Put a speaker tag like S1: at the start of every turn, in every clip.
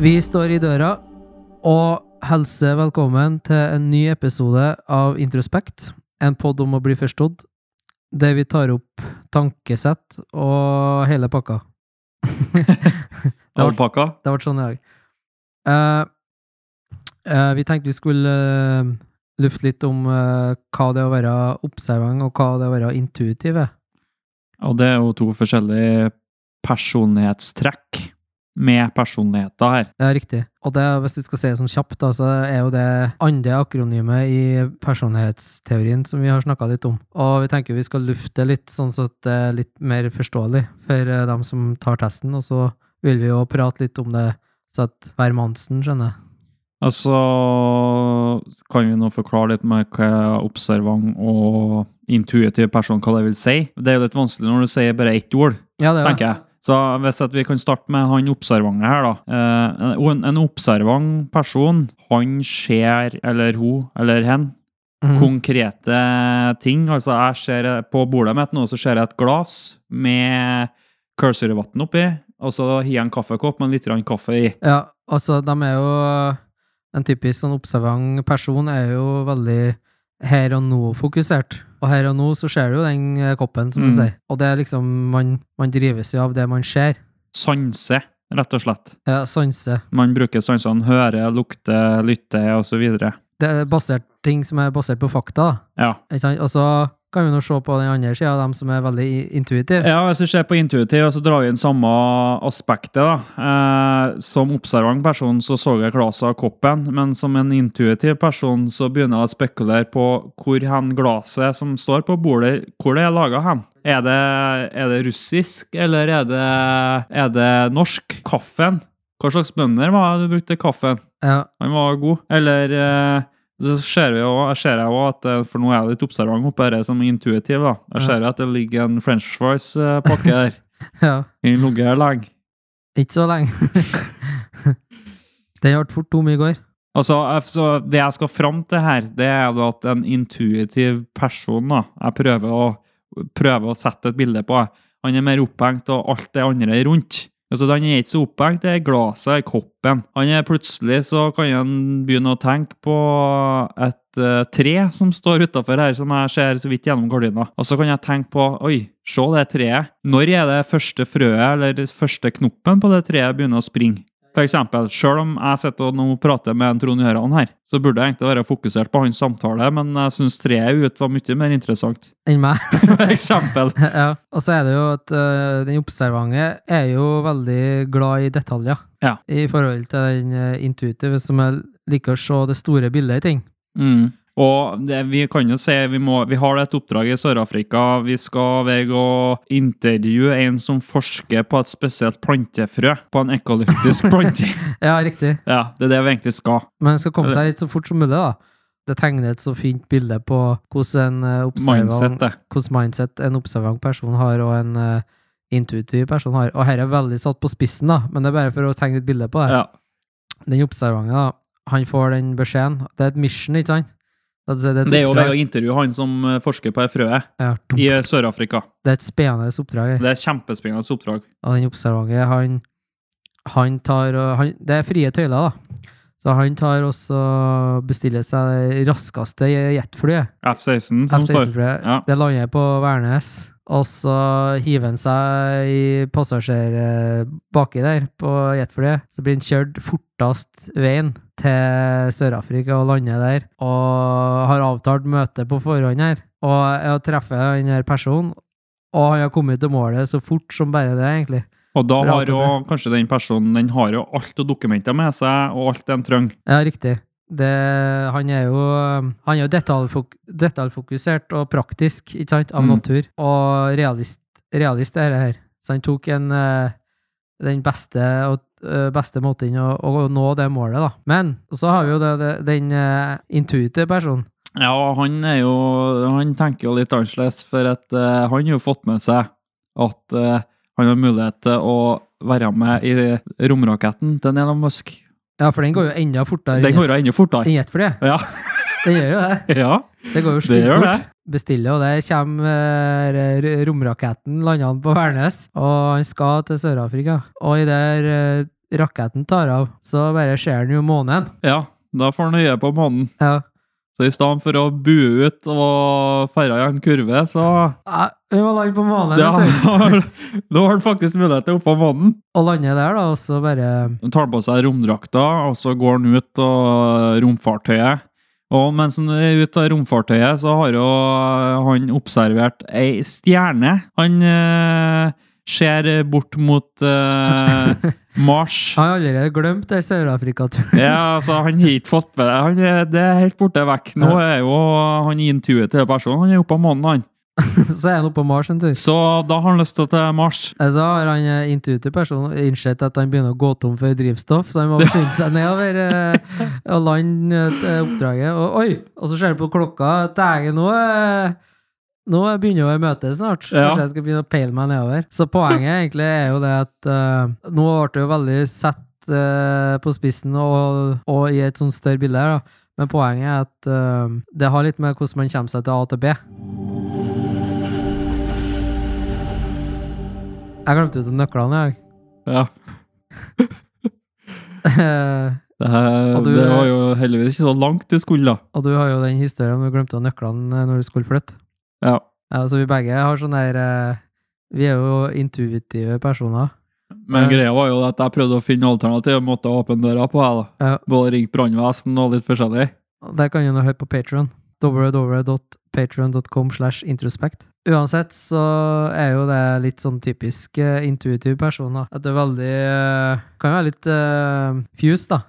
S1: Vi står i døra, og helse velkommen til en ny episode av Introspekt. En pod om å bli forstått, der vi tar opp tankesett og hele pakka. var-
S2: Alpakka.
S1: Det ble sånn i dag. Eh, eh, vi tenkte vi skulle eh, lufte litt om eh, hva det er å være observant, og hva det er å være intuitiv er.
S2: Og det er jo to forskjellige personlighetstrekk med personligheter her.
S1: Ja, riktig. Og det, hvis vi skal si det sånn kjapt, da, så er jo det andre akronymet i personlighetsteorien som vi har snakka litt om. Og vi tenker vi skal lufte litt, sånn så at det er litt mer forståelig for eh, dem som tar testen. Og så vil vi jo prate litt om det, så at hver mannsen skjønner.
S2: Altså kan vi nå forklare litt med hva observant og intuitiv person hva det vil si. Det er jo litt vanskelig når du sier bare ett ord,
S1: Ja, det er det.
S2: tenker jeg. Så hvis at vi kan starte med han observante her, da. Eh, en, en observant person, han ser, eller hun, eller hen,
S1: Mhm.
S2: konkrete ting. Altså, jeg ser på bordet mitt nå, så ser jeg et glass med kullsyrevann oppi, og så har jeg en kaffekopp med litt grann kaffe i.
S1: Ja, altså, de er jo En typisk sånn observant person er jo veldig her og nå-fokusert. Og her og nå så ser du jo den eh, koppen, som du
S2: Mm.
S1: sier. Og det er liksom Man, man drives jo av det man ser.
S2: Sanse, rett og slett.
S1: Ja, sanse.
S2: Man bruker sansene, hører, lukter, lytter, osv.
S1: Det er basert ting som er basert på fakta, da.
S2: Ja.
S1: Ikke sant? Og så kan vi nå se på den andre sida, dem som er veldig i- intuitive.
S2: Ja, hvis vi ser på intuitiv, og så drar vi inn samme aspektet, da. Eh, som observant person så så jeg glasset av koppen, men som en intuitiv person så begynner jeg å spekulere på hvor hen glaset som står på bordet, hvor det er laget hen. Er det, er det russisk, eller er det, er det norsk? Kaffen? Hva slags bønder var det du brukte kaffen?
S1: Ja,
S2: Han var god. Eller eh, så ser vi jo, jeg ser jeg jo at eh, For nå er jeg litt observant oppe her som intuitiv, da. Jeg ser jo at det ligger en french fries-pakke der.
S1: ja.
S2: Den har ligget her lenge.
S1: Ikke så lenge. den ble fort tom i går.
S2: Altså, jeg- så Det jeg skal fram til her, det er da at en intuitiv person da, Jeg prøver å, prøver å sette et bilde på. eh, Han er mer opphengt av alt det andre rundt. Altså, Han er ikke så opphengt i glasset, i koppen. Han er Plutselig så kan han begynne å tenke på et eh, tre som står utafor her, som jeg ser så vidt gjennom gardina. Og så kan jeg tenke på Oi, se det treet. Når er det første frøet eller det første knoppen på det treet begynner å springe? For eksempel, selv om jeg sitter og nå prater med en Trond Gjøran her, så burde jeg egentlig være fokusert på hans samtale, men jeg syns treet ut var mye mer interessant.
S1: Enn meg.
S2: For eksempel.
S1: ja. Og så er det jo at eh, den observante er jo veldig glad i detaljer.
S2: Ja.
S1: I forhold til den eh, intuitive, som er- liker å se det store bildet i ting.
S2: Og det, vi kan jo se, vi, må, vi har et oppdrag i Sør-Afrika. Vi skal veg å intervjue en som forsker på et spesielt plantefrø. På en ekolyptisk plante.
S1: Ja, riktig.
S2: ja, det er det vi egentlig skal.
S1: Men skal komme seg hit så fort som mulig, da. Det tegner et så fint bilde på hvordan en eh, observant,
S2: Mindset, det.
S1: hvordan mindset en observant person har, og en eh, intuitiv person har. Og her er veldig satt på spissen, da, men det er bare for å tegne et bilde på det.
S2: Ja.
S1: Den observante, da, han får den beskjeden. Det er et mission, ikke sant? Altså, et
S2: Det er jo
S1: oppdrag.
S2: ved å intervjue han som eh, forsker på det frøet
S1: Ja, dum.
S2: i Sør-Afrika.
S1: Det er et spennende oppdrag. her.
S2: Det er et kjempespennende oppdrag.
S1: Og den observante, han, han tar og- han, Det er frie tøyler, da. Så han tar også bestiller seg det raskeste jetflyet.
S2: F-16 som står.
S1: F-16-flyet.
S2: Ja.
S1: Det lander på Værnes. Og så hiver han seg i passasjer eh, baki der, på jetflyet. Så blir han kjørt fortest veien til Sør-Afrika og lander der. Og har avtalt møte på forhånd her. Og jeg treffer den her personen, og han har kommet til målet så fort som bare det, egentlig.
S2: Og da
S1: Bra at
S2: har
S1: det
S2: jo kanskje den personen den har jo alt av dokumenter med seg, og alt den trenger.
S1: Ja, riktig. Det, han er jo, han er jo detaljfok detaljfokusert og praktisk, ikke sant, av
S2: Mm.
S1: natur. Og realist, realist er det her. Så han tok en, eh, den beste, og, eh, beste måten å, å nå det målet, da. Men så har vi jo det, det, den eh, intuitive personen.
S2: Ja, han er jo Han tenker jo litt annerledes, for at eh, han har jo fått med seg at eh, han har mulighet til å være med i romraketten til Elon Musk.
S1: Ja, for den går jo enda fortere
S2: Den går jo enda fortere.
S1: enn jetflyet.
S2: Ja.
S1: Den gjør jo det.
S2: Ja,
S1: Det går jo
S2: det gjør
S1: styggfort.
S2: det.
S1: bestiller, og der kommer eh, r- romraketten landene på Værnes, og han skal til Sør-Afrika. Og i der eh, raketten tar av, så bare ser han jo månen.
S2: Ja, da får han øye på månen.
S1: Ja.
S2: Så i stedet for å bue ut og ferde i en kurve, så
S1: Ja, Vi må lande på månen,
S2: ja,
S1: vet du.
S2: Da har da har han faktisk mulighet til å oppå månen.
S1: Og lande der, da, og så bare
S2: Han tar på seg romdrakta, og så går han ut av romfartøyet. Og mens han er ute av romfartøyet, så har jo eh, han observert ei stjerne. Han eh, ser bort mot eh, Mars.
S1: Jeg har allerede glemt den Sør-Afrika-turen.
S2: Ja, altså, han har ikke fått med han, er- Det er helt borte vekk. Nå er jo han intuitiv person. Han er oppe av månen, han.
S1: Så er han oppe på Mars en tur.
S2: Så da har han lyst til å til Mars.
S1: Eh, Så har han eh, intuitiv person innsett at han begynner å gå tom for drivstoff, så han må skynde seg nedover eh, og lande eh, oppdraget. Og oi! Og så ser han på klokka. Dægen, nå eh, Nå begynner jo møtet snart.
S2: Ja.
S1: Kanskje jeg skal begynne å peile meg nedover. Så poenget egentlig er jo det at eh, nå ble det jo veldig satt eh, på spissen og, og i et sånt større bilde her, da. Men poenget er at eh, det har litt med hvordan man kommer seg til A til B. Jeg glemte ut nøklene, jeg.
S2: Ja.
S1: Eh,
S2: Det, her,
S1: Og du-
S2: det var jo heldigvis ikke så langt du skulle, da.
S1: og du har jo den historien om du glemte nøklene eh, når du skulle flytte.
S2: Ja.
S1: Ja, så vi begge har sånn der eh, Vi er jo intuitive personer.
S2: Men
S1: Ja.
S2: greia var jo at jeg prøvde å finne alternativ og måtte åpne døra på. Jeg, da.
S1: Ja.
S2: Både ringt brannvesen og litt forskjellig.
S1: Og Der kan du nå høre på Patron. www.patron.com slash introspect. Uansett så er jo det litt sånn typisk eh, intuitiv person, da. At det er veldig eh, Kan være litt uh, fused, da.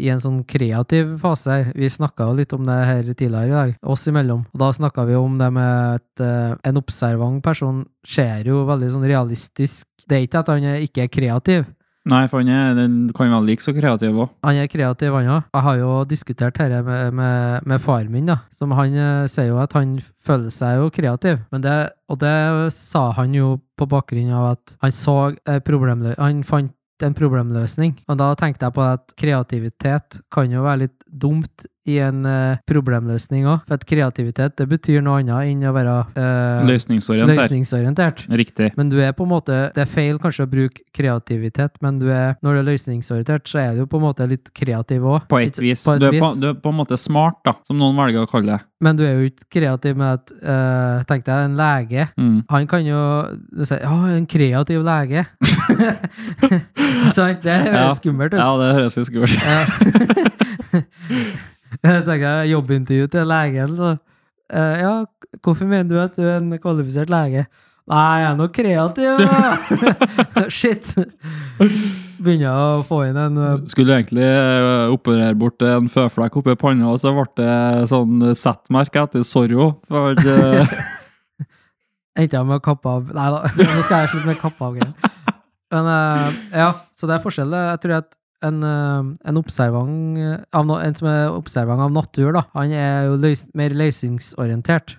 S1: I en sånn kreativ fase her. Vi snakka jo litt om det her tidligere i dag, oss imellom. Og da snakka vi om det med at eh, en observant person ser jo veldig sånn realistisk Det er ikke at han er- ikke er kreativ.
S2: Nei, for han er, den kan være like så kreativ òg.
S1: Han er kreativ, han òg. Jeg har jo diskutert dette med, med, med faren min, da. Som han eh, sier jo at han føler seg jo kreativ, men det, og det sa han jo på bakgrunn av at han så eh, problemlø... Han fant en problemløsning. Og da tenkte jeg på at kreativitet kan jo være litt dumt i en eh, problemløsning òg. For at kreativitet, det betyr noe annet enn å være eh,
S2: Løsningsorientert.
S1: løsningsorientert.
S2: Riktig.
S1: Men du er på en måte Det er feil kanskje å bruke kreativitet, men du er, når du er løsningsorientert, så er du jo på en måte litt kreativ òg.
S2: På et vis.
S1: På et
S2: du, er
S1: vis.
S2: på, du er på en måte smart, da, som noen velger å kalle det.
S1: Men du er jo ikke kreativ med at eh, Tenk deg en lege.
S2: Mm.
S1: Han kan jo du sier, Ja, en kreativ lege. Sant? Det høres
S2: Ja.
S1: skummelt ut.
S2: Ja, det høres litt skummelt ut.
S1: Ja. jeg tenker jobbintervju til legen. Så. eh, ja, hvorfor mener du at du er en kvalifisert lege? Nei, jeg er nok kreativ, da! Shit! Begynner å få inn en eh,
S2: Skulle egentlig ø, operere bort en føflekk oppi panna, og så ble det sånn settmerke etter Sorro. For eh, at, ø,
S1: Endte jeg med å kappe av Nei da, nå skal jeg slutte med kappe av greier. Men eh, ja, så det er forskjell. Jeg tror at en, eh, en observant eh, av no, En som er observant av natur, da, han er jo løs, mer løsningsorientert.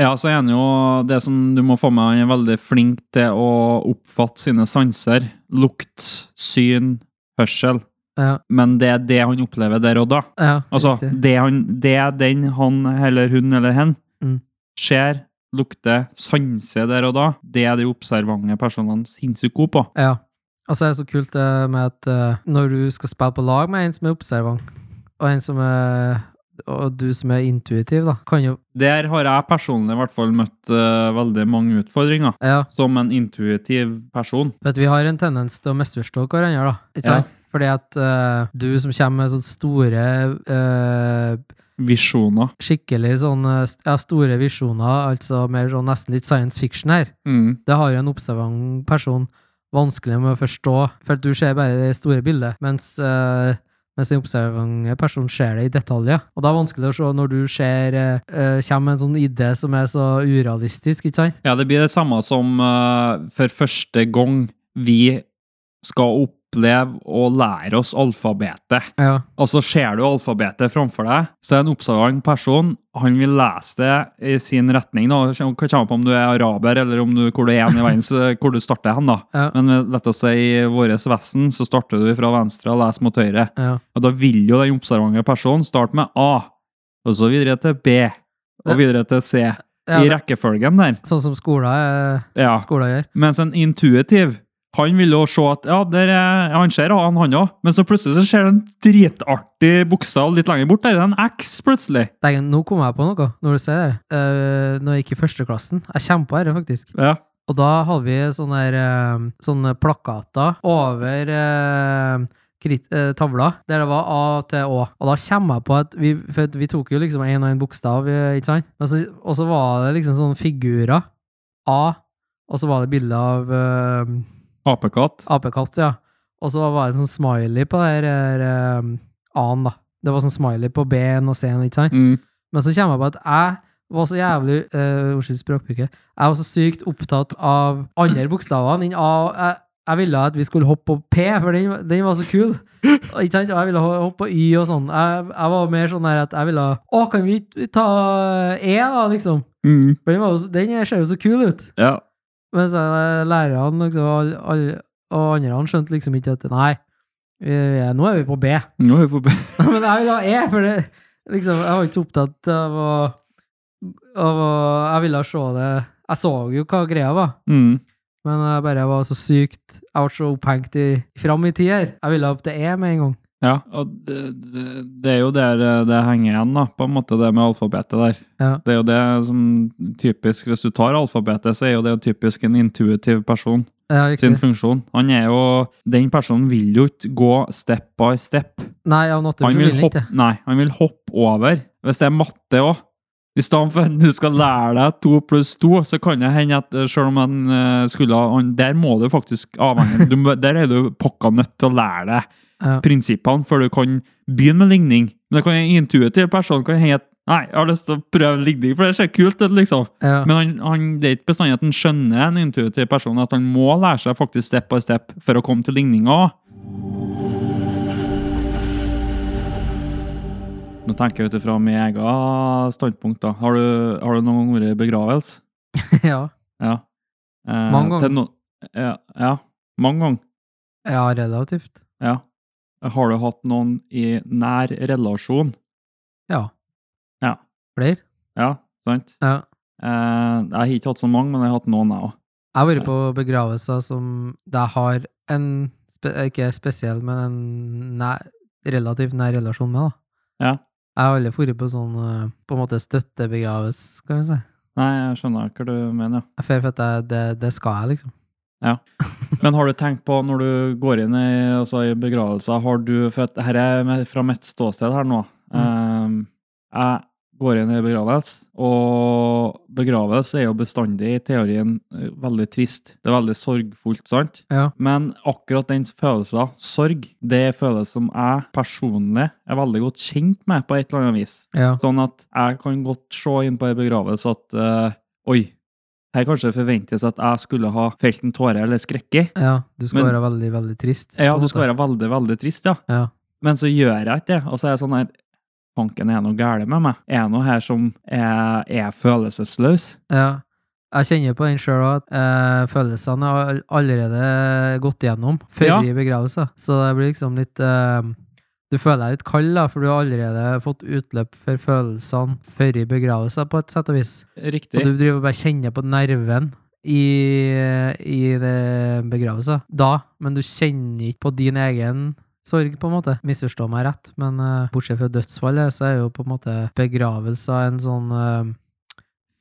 S2: Ja, så er han jo det som du må få med, han er veldig flink til å oppfatte sine sanser. Lukt, syn, hørsel.
S1: Ja,
S2: Men det er det han opplever der og da.
S1: ja,
S2: Altså,
S1: riktig.
S2: det, han, det er den han eller hun eller hen
S1: Mm.
S2: ser, lukter, sanser der og da. Det er de observante personene sinnssykt gode på.
S1: Ja. Og så er det så kult det med at eh, når du skal spille på lag med en som er observant, og en som er og du som er intuitiv, da, kan jo
S2: Der har jeg personlig i hvert fall møtt eh, veldig mange utfordringer.
S1: Ja,
S2: Som en intuitiv person.
S1: vet du, vi har en tendens til å misforstå hverandre, da. Ikke
S2: Ja.
S1: sant? Fordi at eh, du som kommer med sånne store eh,
S2: Visjoner.
S1: skikkelig sånn eh, st- ja, store visjoner, altså mer sånn nesten litt science fiction her.
S2: Mm.
S1: Det har jo en observant person vanskelig med å forstå, for at du ser bare det store bildet, mens, eh, mens en observant person ser det i detaljer. Og det er vanskelig å se når du ser eh, eh, kommer en sånn idé som er så urealistisk, ikke sant?
S2: Ja, det blir det samme som eh, for første gang vi skal oppleve å lære oss alfabetet.
S1: Ja.
S2: Og så ser du alfabetet framfor deg, så er en observant person han vil lese det i sin retning. da, Det kommer an på om du er araber, eller om du, hvor du er hen i verden, så hvor du starter hen. da.
S1: Ja.
S2: Men eh, lett å si, i vårt vesen så starter du fra venstre og leser mot høyre.
S1: ja.
S2: Og da vil jo den observante personen starte med A, og så videre til B, og videre til C.
S1: ja
S2: I
S1: det,
S2: rekkefølgen der.
S1: sånn som skolen, eh,
S2: Ja.
S1: skolen gjør.
S2: Mens en intuitiv, Han vil jo se at ja, der er, han ser han, han òg, men så plutselig så ser han en dritartig bokstav litt lenger bort. Der er det en X, plutselig.
S1: Tenk, nå kom jeg på noe, når du sier det. Eh, når jeg gikk i førsteklassen Jeg kommer på dette, faktisk.
S2: Ja.
S1: Og da hadde vi sånne, her, eh, sånne plakater over eh, krit, eh, tavla, der det var A til Å. Og da kommer jeg på at vi, for at vi tok jo liksom én og én bokstav, eh, ikke sant? Men så, og så var det liksom sånne figurer. A, og så var det bilde av eh,
S2: Apekatt.
S1: apekatt, ja. Og så var det en sånn smiley på der, der eh, A-en, da. Det var sånn smiley på B-en og C-en, ikke sant?
S2: Mm.
S1: Men så kommer jeg på at jeg var så jævlig uh, Unnskyld språkbruket. Jeg var så sykt opptatt av andre bokstavene enn A. Jeg, jeg ville at vi skulle hoppe på P, for den, den var så kul. Og Ikke sant? Og jeg ville ho- hoppe på Y og sånn. Jeg, jeg var mer sånn der at jeg ville Å, kan vi ikke ta E, da, liksom?
S2: Mm.
S1: For den, var jo så, den ser jo så kul ut.
S2: Ja.
S1: Mens eh, lærerne liksom, og alle- alle- og andre skjønte liksom ikke at Nei, vi, vi- nå er vi på B.
S2: Mm, Nå er vi på B.
S1: Men jeg ville ha E, for det, liksom, jeg var ikke så opptatt av å, av å Jeg ville se det Jeg så jo hva greia var,
S2: Mm.
S1: men jeg bare var så sykt Jeg ble så opphengt i fram i tid her. Jeg ville opp til E med en gang.
S2: Ja, og det, det, det er jo der eh, det henger igjen, da, på en måte, det med alfabetet der.
S1: Ja.
S2: Det er jo det som typisk, hvis du tar alfabetet, så er jo det typisk en intuitiv person
S1: Ja, riktig.
S2: sin funksjon. Han er jo, Den personen vil jo ikke gå step by step.
S1: Nei, av natur
S2: Han
S1: så
S2: vil,
S1: vil jeg
S2: hoppe,
S1: ikke.
S2: nei, han vil hoppe over. Hvis det er matte òg. I stedet for at du skal lære deg to pluss to, så kan det hende at eh, selv om han eh, skulle ha han- Der må du faktisk avhenge du, må- Der er du pokka nødt til å lære deg
S1: Ja.
S2: prinsippene før du kan begynne med ligning. Men det kan en intuitiv person kan henge at Nei, jeg har lyst til å prøve ligning, for det ser kult ut, liksom.
S1: Ja.
S2: Men han, han, det er ikke bestandig at han skjønner en intuitiv person, at han må lære seg faktisk step by step for å komme til ligninga. Nå tenker jeg ut ifra mitt eget standpunkt. da. Har du, har du noen gang vært i begravelse?
S1: ja.
S2: Ja. Eh,
S1: Mange ganger.
S2: til No ja, ja. Mange ganger.
S1: ja, relativt.
S2: Ja. Har du hatt noen i nær relasjon?
S1: Ja.
S2: Ja.
S1: Flere?
S2: Ja, sant?
S1: Ja.
S2: Eh, jeg har ikke hatt så mange, men jeg har hatt noen, jeg òg.
S1: Jeg har vært på begravelser som der har en spe, Ikke spesiell, men en nær, relativt nær relasjon med, da.
S2: Ja.
S1: Jeg har aldri vært på sånn eh, på en måte støttebegravelse, kan vi si.
S2: Nei, jeg skjønner hva du mener. ja.
S1: Jeg føler for at jeg, det, det skal jeg, liksom.
S2: Men har du tenkt på, når du går inn i, altså i begravelser, har du For at her er med- fra mitt ståsted her nå. Eh, jeg går inn i begravelse, og begravelse er jo bestandig i teorien eh, veldig trist. Det er veldig sorgfullt, sant?
S1: Ja.
S2: Men akkurat den følelsen av sorg, det er en følelse som jeg personlig er veldig godt kjent med på et eller annet vis.
S1: Ja.
S2: Sånn at jeg kan godt se inn på en begravelse at eh, oi, her kanskje det forventes at jeg skulle ha felt en tåre eller skrekke.
S1: ja. Du skal
S2: Men-
S1: være veldig, veldig trist.
S2: Ja, du skal være veldig, veldig trist, ja.
S1: Ja.
S2: Men så gjør jeg ikke det. Og så er jeg sånn her Fanken, er det noe galt med meg? Er det noe her som er, er følelsesløs?
S1: Ja. Jeg kjenner på den sjøl at eh, følelsene har all- allerede gått gjennom før
S2: Ja.
S1: i begravelser. Så det blir liksom litt eh, Du føler deg litt kald, da, for du har allerede fått utløp for følelsene før i begravelser, på et sett og vis. Og
S2: Riktig.
S1: du driver og bare kjenner på nerven i, i det begravelsen. Da, men du kjenner ikke på din egen sorg, på en måte. Misforstå meg rett, men eh, bortsett fra dødsfallet, så er jo på en måte begravelse en sånn eh,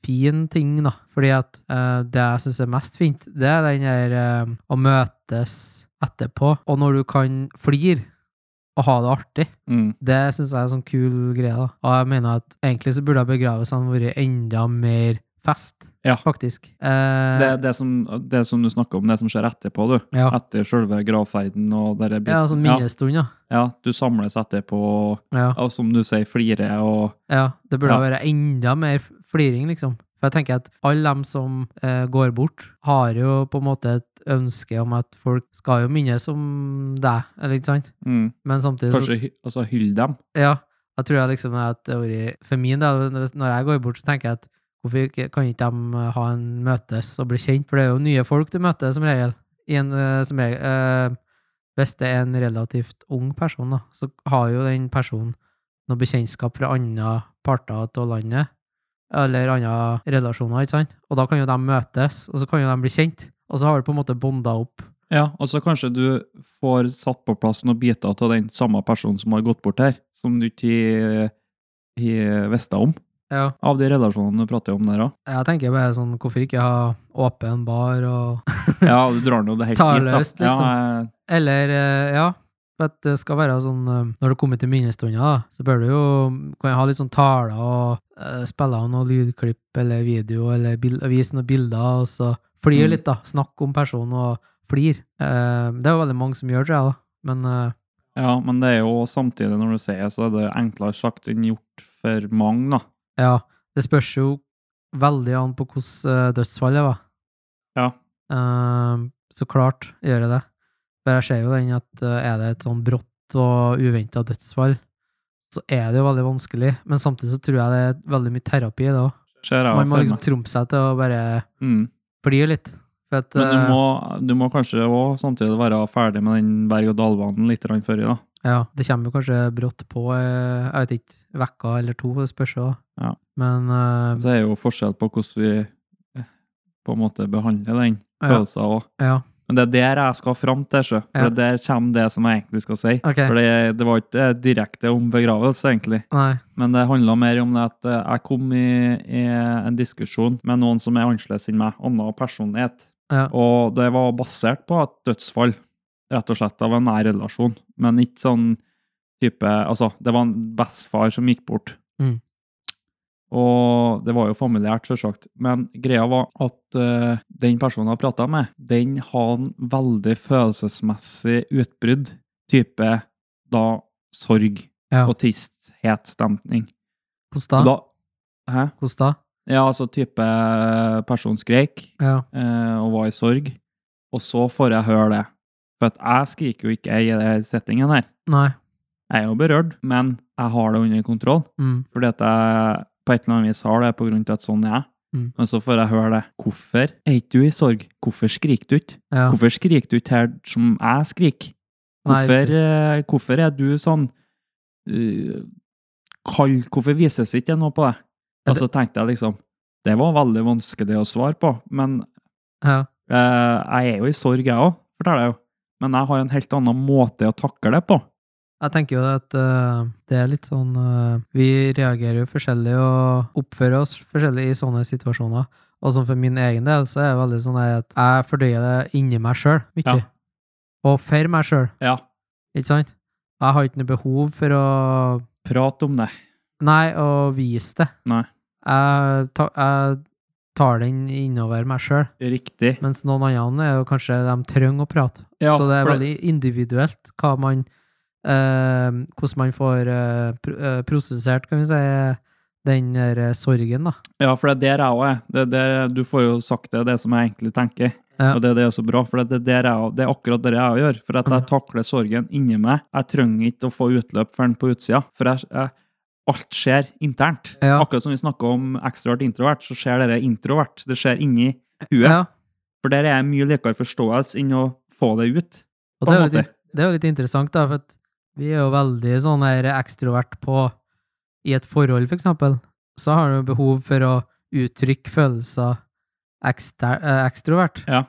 S1: fin ting, da. Fordi at eh, det jeg syns er mest fint, det er den der eh, å møtes etterpå, og når du kan flire og ha det artig.
S2: Mm.
S1: Det syns jeg er en sånn kul greie, da. Og jeg mener at egentlig så burde begravelsene vært enda mer fest,
S2: Ja.
S1: faktisk. Eh,
S2: Det, det, som, det som du snakker om, det som skjer etterpå, du.
S1: ja.
S2: Etter selve gravferden og det der bit-
S1: ja, sånn minnestund, ja.
S2: Ja, ja, du samles etterpå,
S1: ja.
S2: og som du sier, flirer og
S1: Ja, det burde
S2: Ja.
S1: være enda mer f- fliring, liksom. For jeg tenker at alle dem som eh, går bort, har jo på en måte et ønske om at folk skal jo minnes om deg, eller ikke sant?
S2: mm,
S1: Men samtidig så
S2: Kanskje hy- altså, hylle dem.
S1: Ja, jeg tror jeg liksom at det har vært For min del, når jeg går bort, så tenker jeg at hvorfor ikke- kan ikke de ha en møtes og bli kjent? For det er jo nye folk du møter, som regel. I en, eh, som regel eh, hvis det er en relativt ung person, da, så har jo den personen noe bekjentskap fra andre parter av landet, eller andre relasjoner, ikke sant? Og da kan jo de møtes, og så kan jo de bli kjent, og så har du på en måte bonda opp
S2: Ja, og så kanskje du får satt på plass noen biter av den samme personen som har gått bort her, som du ikke har visst om.
S1: Ja.
S2: Av de relasjonene du prater om der òg.
S1: Jeg tenker bare sånn, hvorfor ikke ha åpen bar og
S2: Ja, du drar nå det helt
S1: Ta
S2: dit, da.
S1: løst, liksom.
S2: Ja, jeg-
S1: Eller, eh, ja. For at det skal være sånn eh, Når det kommer til minnestunder, da, så bør du jo kan jeg ha litt sånn taler og eh, spille av noe lydklipp eller video eller bil, vise noen bilder, og så flir
S2: Mm.
S1: litt, da. Snakk om personen og flir. Eh, det er jo veldig mange som gjør, tror jeg, da. Men eh,
S2: ja, men det er jo samtidig, når du sier det, så er det enklere sagt enn gjort for mange, da.
S1: ja, det spørs jo veldig an på hvordan eh, dødsfallet var.
S2: Ja.
S1: Eh, så klart gjør jeg det. For jeg ser jo den at eh, er det et sånn brått og uventa dødsfall, så er det jo veldig vanskelig. Men samtidig så tror jeg det er veldig mye terapi i det òg.
S2: Ser jeg
S1: Man må
S2: for
S1: liksom
S2: meg.
S1: trumpe seg til å bare
S2: Mm.
S1: fly litt. For at,
S2: Men
S1: eh,
S2: du må, du må kanskje òg samtidig være ferdig med den berg-og-dal-banen litt grann før i, da.
S1: ja, det kommer jo kanskje brått på, eh, jeg vet ikke, vekka eller to, det spørs jo.
S2: Ja.
S1: Men eh,
S2: Så er jo forskjell på hvordan vi eh, på en måte behandler den
S1: ja,
S2: følelsen òg.
S1: ja,
S2: Men det er der jeg skal fram til, sjø. For
S1: Ja.
S2: Der kommer det som jeg egentlig skal si.
S1: ok.
S2: For det, det var ikke eh, direkte om begravelse, egentlig.
S1: Nei.
S2: Men det handla mer om det at eh, jeg kom i, i en diskusjon med noen som er annerledes enn meg, annen personlighet.
S1: Ja.
S2: Og det var basert på et dødsfall, rett og slett, av en nær relasjon. Men ikke sånn type Altså, det var en bestefar som gikk bort.
S1: Mm.
S2: Og det var jo familiært, selvsagt. Men greia var at eh, den personen jeg prata med, den har en veldig følelsesmessig utbrudd. Type da sorg
S1: Ja.
S2: og tristhetstemning. Og
S1: Hvordan da?
S2: da Hæ?
S1: Hvordan da?
S2: Ja, altså type person skreik
S1: Ja.
S2: eh, og var i sorg, og så får jeg høre det. For at jeg skriker jo ikke jeg i denne settingen her.
S1: Nei.
S2: Jeg er jo berørt, men jeg har det under kontroll.
S1: Mm.
S2: Fordi at jeg på et eller annet vis har det på grunn til at sånn er jeg.
S1: Mm.
S2: Men så får jeg høre det. Hvorfor er ikke du i sorg? Hvorfor skriker du ikke?
S1: Ja.
S2: Hvorfor skriker du ikke her som jeg skriker?
S1: Nei,
S2: Hvorfor, eh, hvorfor er du sånn eh, kald? Hvorfor vises ikke det noe på deg?
S1: Ja,
S2: Og så tenkte jeg liksom Det var veldig vanskelig å svare på, men
S1: Ja.
S2: eh, jeg er jo i sorg, jeg òg, forteller jeg jo. Men jeg har en helt annen måte å takle det på.
S1: Jeg tenker jo at eh, det er litt sånn eh, Vi reagerer jo forskjellig og oppfører oss forskjellig i sånne situasjoner. Og sånn for min egen del så er det veldig sånn her at jeg fordøyer det inni meg sjøl mye.
S2: Ja.
S1: Og for meg sjøl,
S2: Ja.
S1: ikke sant? Jeg har ikke noe behov for å
S2: Prat om det.
S1: Nei, å vise det.
S2: Nei.
S1: Jeg, ta, jeg tar den innover meg sjøl.
S2: Riktig.
S1: Mens noen andre er jo kanskje de trenger å prate.
S2: Ja,
S1: så det er
S2: for
S1: veldig individuelt hva man eh, Hvordan man får eh, pr eh, prosessert, kan vi si, den der eh, sorgen, da.
S2: Ja, for det er der jeg òg er. Det er der, du får jo sagt det, det som jeg egentlig tenker.
S1: Ja.
S2: Og det, er det er så bra, for det er, der jeg, det er akkurat det jeg gjør. For at
S1: Mm.
S2: jeg takler sorgen inni meg. Jeg trenger ikke å få utløp for den på utsida. For jeg, jeg, alt skjer internt.
S1: Ja.
S2: Akkurat som vi snakker om ekstrovert introvert, så skjer dette introvert. Det skjer inni huet.
S1: Ja,
S2: For der er jeg mye likere forståelse enn å få det ut.
S1: og
S2: På
S1: det
S2: en
S1: er, jo
S2: måte.
S1: litt, det er jo litt interessant, da, for at vi er jo veldig sånn her ekstrovert på I et forhold, for eksempel, så har du behov for å uttrykke følelser ekster, eh, ekstrovert.
S2: Ja.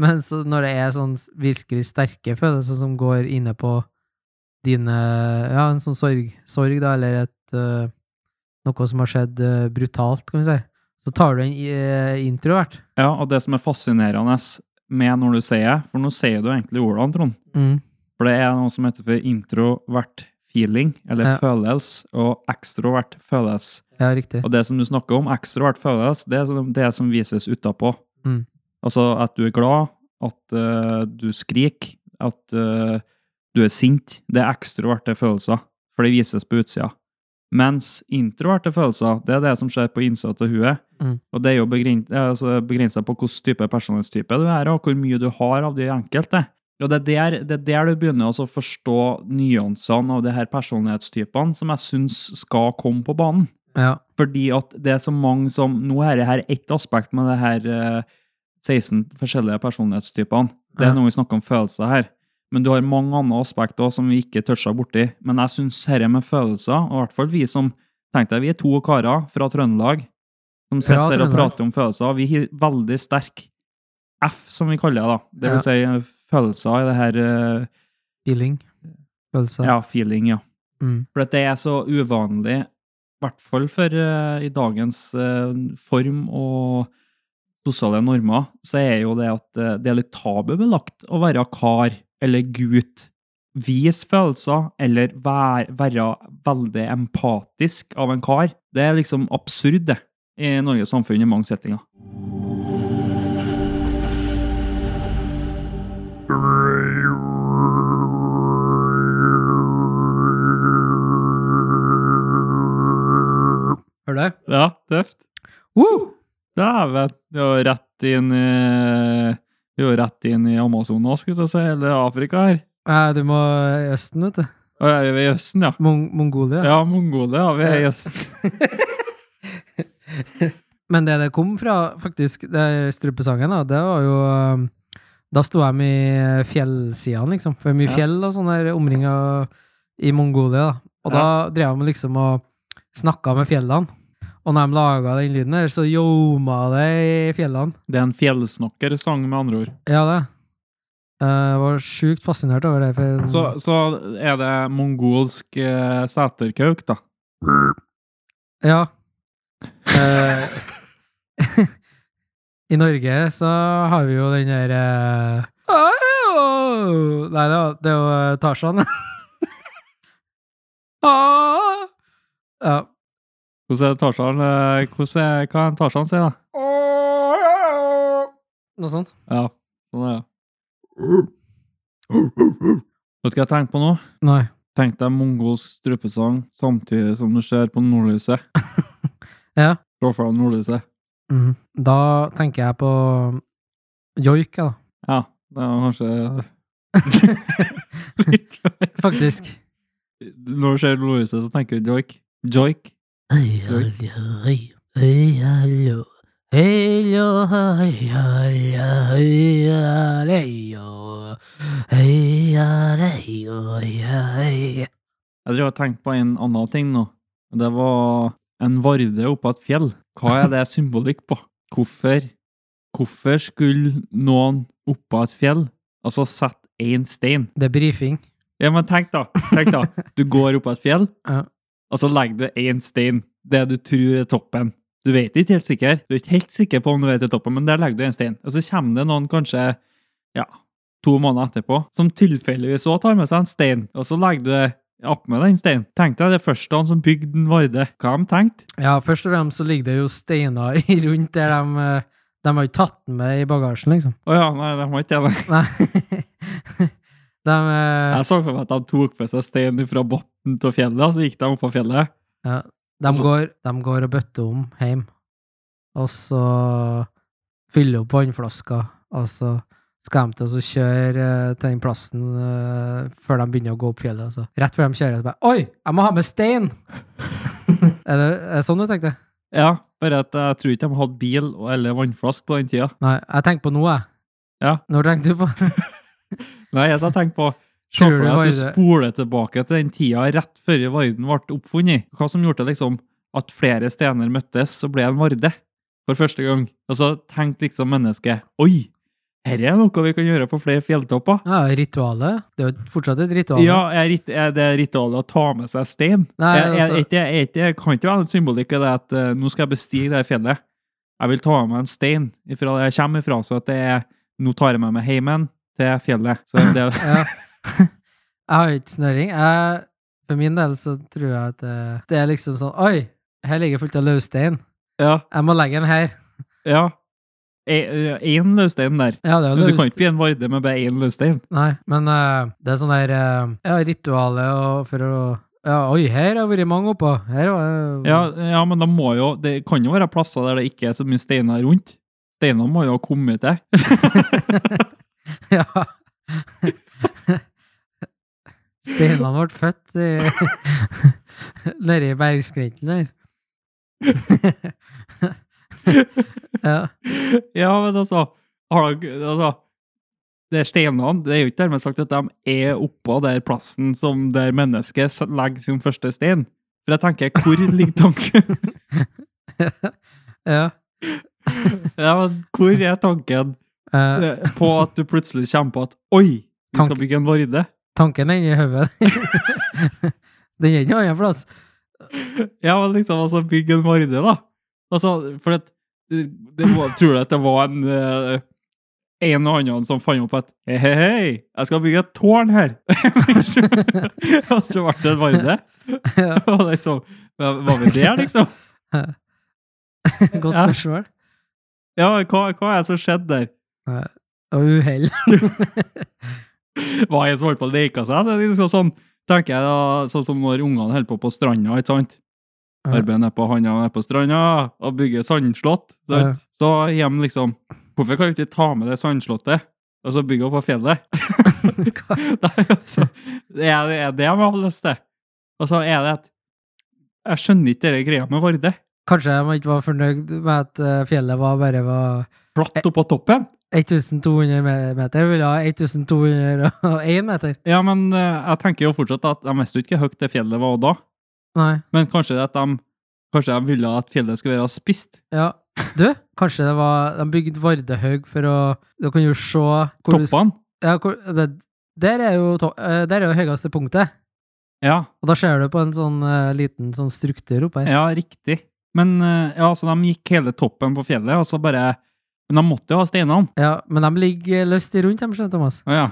S1: Men så når det er sånn virkelig sterke følelser som går inne på dine Ja, en sånn sorg, sorg da, eller et øh, Noe som har skjedd øh, brutalt, kan vi si. Så tar du en i- introvert.
S2: ja, og det som er fascinerende med når du sier det, for nå sier du egentlig ordene, Trond.
S1: Mm.
S2: For det er noe som heter for introvert feeling, eller
S1: Ja.
S2: følelse, og ekstrovert følelse.
S1: Ja, riktig.
S2: Og det som du snakker om, ekstrovert følelse, det er som- det som vises utapå.
S1: Mm.
S2: Altså at du er glad, at eh, du skriker, at eh, du er sint. Det er ekstroverte følelser, for det vises på utsida. Mens introverte følelser, det er det som skjer på innsida av huet.
S1: Mm.
S2: Og det er jo begren- eh, altså begrensa på hvilken type personlighetstype du er, og hvor mye du har av de enkelte. Og det er der, det er der du begynner også å forstå nyansene av de her personlighetstypene som jeg syns skal komme på banen.
S1: Ja.
S2: Fordi at det er så mange som Nå er det her ett aspekt med det her eh, 16 forskjellige personlighetstypene. Det
S1: Ja.
S2: er noe vi snakker om følelser her. Men du har mange andre aspekter også som vi ikke toucha borti. Men jeg syns dette med følelser, og i hvert fall vi som tenkte vi er to karer fra Trøndelag
S1: Fra
S2: som sitter der og
S1: Trøndelag.
S2: prater om følelser, vi har veldig sterk F, som vi kaller det. da. Det vil si eh, følelser i det her eh,
S1: Feeling. Følelser.
S2: Ja, feeling, ja.
S1: Mm.
S2: For at det er så uvanlig, i hvert fall for eh, i dagens eh, form og sosiale normer, så er jo det at eh, det er litt tabubelagt å være kar eller gutt. Vis følelser, eller være, være veldig empatisk av en kar. Det er liksom absurd, det, i Norges samfunn i mange settinger.
S1: Hører du?
S2: Ja, tøft.
S1: Woo!
S2: Dæven. Det var rett inn i det var rett inn i Amazonas, skulle jeg si, eller Afrika her.
S1: Eh, du må i Østen, vet du.
S2: Å, ja, vi er i Østen, ja.
S1: Mong Mongolia.
S2: Ja, Eh, Mongolia. Vi er i Østen.
S1: Men det det kom fra, faktisk, det er strupesangen, da, det var jo um, Da sto de i fjellsidene, liksom. For det er mye
S2: Ja.
S1: fjell og sånne omringa i Mongolia, da. Og da drev de liksom og snakka med fjellene. Og når de laga den lyden der, så ljoma det i fjellene.
S2: Det er en fjellsnakkersang, med andre ord.
S1: Ja, det. Eh, Jeg var sjukt fascinert over det. For
S2: Så, så er det mongolsk eh, seterkauk, da.
S1: Ja. Eh, I Norge så har vi jo den der eh, «Au!» Nei, det var- det er jo eh, Tarzan. Ah! ja.
S2: Hvordan er Tarzan eh, hvordan er- Hva er det Tarzan sier, da?
S1: Noe sånt.
S2: Ja, sånn er det. Vet du hva jeg tenkte på nå?
S1: Nei.
S2: Tenk deg mongolsk strupesang samtidig som du ser på nordlyset.
S1: Ja.
S2: Slå fra nordlyset.
S1: Mhm. Da tenker jeg på joik, jeg, da.
S2: Ja, det var kanskje litt
S1: Faktisk.
S2: Når du ser nordlyset, så tenker du joik. Joik.
S1: Hei,
S2: Oi.
S1: hallo, hei. Hei, hallo. Hei, hallo, hei, hallo, hei, hallo. Hei, hallo, hei, hei.
S2: Jeg tror jeg tenkte på en annen ting nå. Det var en varde oppå et fjell. Hva er det symbolikk på? Hvorfor? Hvorfor skulle noen oppå et fjell, og så sette én stein?
S1: Det er brifing.
S2: Ja, men tenk da, tenk da. Du går oppå et fjell,
S1: Ja.
S2: og så legger du én stein. Det du tror er toppen. Du vet ikke helt sikker. Du er ikke helt sikker på om du vet det er toppen, men der legger du en stein. Og så kommer det noen kanskje ja, to måneder etterpå som tilfeldigvis òg tar med seg en stein, og så legger du det opp med den steinen. Tenk deg det første han som bygde en Varde. Hva har de tenkt?
S1: Ja, først og fremst så ligger det jo steiner i rundt der de eh, De har jo tatt den med i bagasjen, liksom.
S2: Å ja, nei, de har ikke det.
S1: Nei. De eh,
S2: Jeg så for meg at de tok med seg stein fra bunnen av fjellet, og så gikk de opp på fjellet.
S1: De
S2: Altså-
S1: går, de går og bøtter om hjem, og så fyller opp vannflaska, og så skal de til å kjøre eh, til den plassen eh, før de begynner å gå opp fjellet. Altså. Rett før de kjører, så bare Oi, jeg må ha med stein! er, det, er det sånn du tenkte?
S2: Ja, bare at jeg tror ikke de hadde bil og- eller vannflask på den tida.
S1: Nei, jeg tenker på nå, jeg.
S2: Ja.
S1: Når tenkte du på
S2: Nei, jeg har tenkt på Se
S1: Tror
S2: for
S1: du
S2: deg at du
S1: Varde-
S2: spoler tilbake til den tida rett før Varden ble oppfunnet. Hva som gjorde det liksom at flere stener møttes og ble en Varde for første gang? Og så tenkte liksom mennesket Oi, dette er noe vi kan gjøre på flere fjelltopper.
S1: ja, ritualet? Det er jo fortsatt et ritual.
S2: Ja, er, rit- er det ritualet å ta med seg stein?
S1: Nei,
S2: er, er,
S1: altså-
S2: er, ikke- er, ikke- kan ikke være en symbolikk i det at eh, nå skal jeg bestige det her fjellet. Jeg vil ta med meg en stein ifra der jeg kommer ifra, så at det er Nå tar jeg med meg heimen til fjellet. Så det,
S1: Ja. Jeg har jo ikke snøring. Jeg, for min del så tror jeg at det, det er liksom sånn Oi, her ligger fullt av løvstein.
S2: ja.
S1: Jeg må legge den her.
S2: Ja. E, Én løvstein der.
S1: Ja, det er
S2: Men
S1: jo
S2: du kan ikke
S1: løvstein.
S2: bli en varde med bare én løvstein.
S1: Nei, men eh, det er sånn der eh, Ja, ritualet og for å Ja, oi, her har det vært mange oppå. Her var eh,
S2: Ja, ja, men da må jo Det kan jo være plasser der det ikke er så mye steiner rundt. Steinene må jo ha kommet til.
S1: ja. Steinene ble født i- nede i bergskrenten der. ja.
S2: ja, men altså, har dere- altså Det er steinene. Det er jo ikke dermed sagt at de er oppå der plassen som der mennesket s- legger sin første stein. For jeg tenker, hvor ligger tanken?
S1: ja.
S2: ja, men hvor er tanken?
S1: Eh,
S2: eh, på at du plutselig kommer på at Oi, vi skal
S1: Tank-
S2: bygge en varde.
S1: tanken er inni hodet. Den er ikke noen annen plass.
S2: Ja, men liksom, altså, bygg en varde, da. Altså, for at det, det var, Tror du at det var en eh, en og annen som fant opp at hei, hei, hei, jeg skal bygge et tårn her! Liksom. og så ble det en varde.
S1: Ja,
S2: Og liksom, Var vi der, liksom?
S1: Godt
S2: Ja.
S1: spørsmål.
S2: Ja, hva, hva er det som skjedde der?
S1: Eh, Og uhell.
S2: Hva er det som holdt på å leke seg? Det er liksom sånn, tenker jeg da, sånn som når ungene holder på på stranda, ikke sant?
S1: Ja.
S2: Arbeider ned på handa ned på stranda og bygger sandslott.
S1: Ja.
S2: Sant? Så hjem liksom, hvorfor kan vi ikke ta med det sandslottet? Og så bygge opp på fjellet?
S1: Hva-
S2: Nei, altså, det er det er det de har lyst til. Og så er det at, jeg skjønner ikke dere greia med Varde.
S1: Kanskje de ikke var fornøyd med at eh, fjellet var bare var Eh.
S2: Flatt opp på toppen.
S1: 1200 me- meter. Ville ha 1201 meter.
S2: Ja, men eh, jeg tenker jo fortsatt at jeg visste jo ikke hvor høyt det fjellet var da.
S1: Nei.
S2: Men kanskje det at de, kanskje de ville at fjellet skulle være spist.
S1: Ja. Du, kanskje det var De bygde Vardehaug for å Du kan jo se hvor du,
S2: Toppene.
S1: ja, hvor, det, Der er jo to, eh, Der er jo høyeste punktet.
S2: Ja,
S1: Og da ser du på en sånn eh, liten sånn struktur oppe her.
S2: ja, riktig. Men eh, ja, så de gikk hele toppen på fjellet, og så bare Men de måtte jo ha steinene.
S1: Ja, men de ligger løst rundt, dem, skjønner du, Thomas.
S2: Å Ja.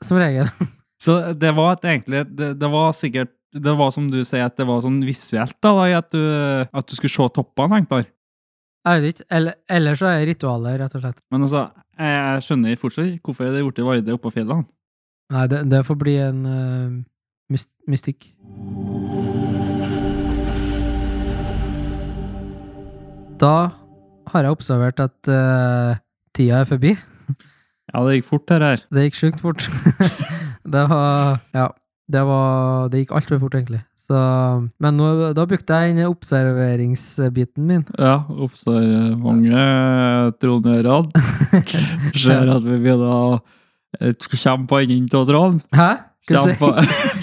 S1: Som regel.
S2: Så det var et egentlig det, det var sikkert Det var som du sier, at det var sånn visuelt, da, da i at, du, at du skulle se toppene, Hengtar.
S1: Jeg vet ikke. Eller, eller så er det ritualet, rett og slett.
S2: Men altså, jeg skjønner fortsatt ikke hvorfor det ble Varde oppå fjellene.
S1: Nei, det, det får bli en eh, myst, mystikk. Da har jeg observert at eh, tida er forbi.
S2: Ja, det gikk fort, det her.
S1: Det gikk sjukt fort. det var Ja. Det, var, det gikk altfor fort, egentlig. Så, men nå, da brukte jeg den observeringsbiten min.
S2: Ja, oppstår eh, mange eh, trongjørene. Ser at vi begynner å eh, Kjem på enden av tråden.
S1: Hæ? Skal du
S2: Kjem
S1: si-
S2: på,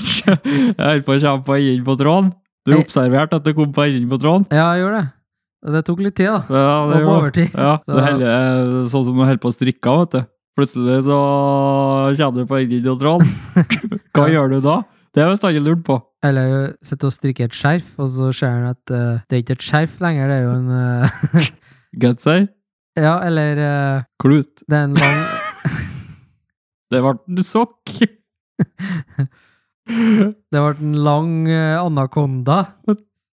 S2: jeg holder på å kjemme på enden på tråden. Du
S1: Nei.
S2: observerte at du kom på enden på tråden.
S1: Ja, jeg gjorde det. Det tok litt tid, da.
S2: Ja,
S1: Det
S2: det
S1: var på
S2: gjorde-
S1: overtid.
S2: ja,
S1: Så-
S2: det holder- sånn som du holder på å strikke, vet du. Plutselig så kommer du på enden av tråden. Hva
S1: Ja.
S2: gjør du da? Det har jeg bestandig lurt på.
S1: Eller sitter og strikker et skjerf, og så ser han at eh, det er ikke et skjerf lenger, det er jo en eh,
S2: Genser,
S1: Ja, eller eh,
S2: klut.
S1: det er en lang
S2: Det ble en sokk.
S1: Det ble en lang eh, anakonda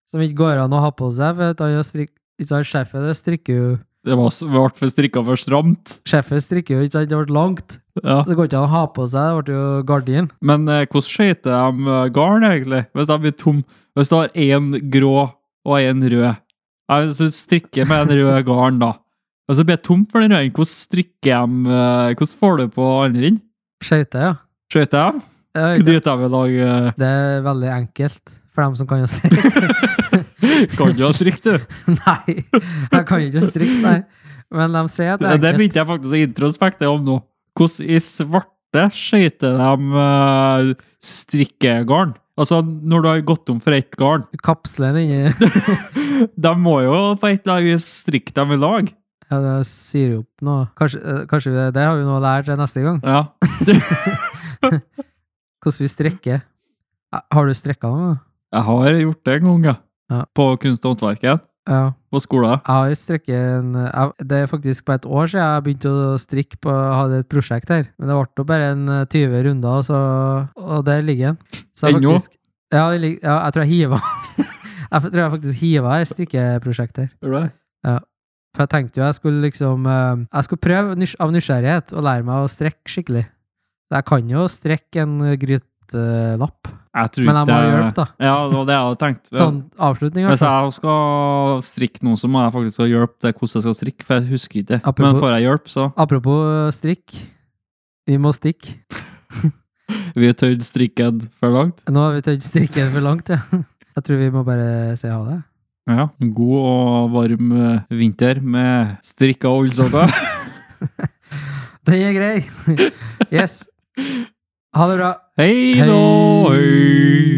S1: som ikke går an å ha på seg, for at han har strikk... Ikke sant, skjerfet det strikker jo
S2: Det var s- ble for strikka for stramt.
S1: Skjerfet strikker jo, ikke sant, det ble langt.
S2: Ja.
S1: Så går ikke an å ha på seg, det ble jo gardin.
S2: Men eh, hvordan skøyter de eh, garn, egentlig? Hvis de blir tom Hvis du har én grå og én rød Nei, Hvis du strikker med en rød garn, da Hvis det blir tomt for den røde, hvordan strikker de eh, Hvordan får du på andre inn?
S1: Skøyter, ja.
S2: Skøyter de?
S1: Jeg vet ikke.
S2: Dytter de i lag eh,
S1: Det er veldig enkelt for dem som kan å strikke.
S2: Kan du ha eh, strikk, du?
S1: nei, jeg kan ikke strikke, nei. Men de sier at det
S2: Det,
S1: er
S2: det
S1: enkelt.
S2: begynte jeg faktisk å introspekte om nå. Hvordan i svarte skøyter de eh, strikkegarn? Altså, når du har gått tom for ett garn,
S1: Kapselen inni
S2: de må jo på et eller annet vis strikke dem i lag.
S1: Ja, det sier jo opp noe. Kanskje, eh, kanskje vi- det har vi noe lært til neste gang.
S2: Ja.
S1: Hvordan vi strekker. Eh, Har du strekka noe?
S2: Jeg har gjort det en gang, ja.
S1: Ja.
S2: På kunst- og håndverket.
S1: Ja.
S2: På skolen.
S1: Jeg har strekket en jeg, Det er faktisk på et år siden jeg begynte å strikke på Jeg hadde et prosjekt her. Men det ble jo bare en eh, 20 runder, og, så, og der ligger den. Så jeg
S2: Ennå?
S1: faktisk- Ja, den ligger- ja, jeg tror jeg hiva Jeg tror jeg faktisk hiva et strikkeprosjekt her.
S2: Gjør du det?
S1: For jeg tenkte jo jeg skulle liksom eh, Jeg skulle prøve nys av nysgjerrighet å lære meg å strekke skikkelig. Så jeg kan jo strekke en eh, grytelapp.
S2: Jeg tror
S1: Men jeg må ha hjelp, da.
S2: Ja, det var det jeg hadde tenkt.
S1: Sånn avslutning,
S2: Hvis
S1: altså.
S2: jeg skal strikke noe, så må jeg faktisk ha hjelp til hvordan jeg skal strikke, for jeg husker ikke.
S1: Apropos-
S2: Men får jeg hjelp, så
S1: Apropos eh, strikk. Vi må stikke.
S2: Vi har tøyd strikken for langt.
S1: Nå har vi tøyd strikken for langt, ja. Jeg tror vi må bare si ha det.
S2: Ja. En god og varm eh, vinter med strikka ullsokker.
S1: Den er grei! Yes. Ha det bra.
S2: Hei da!
S1: Hei.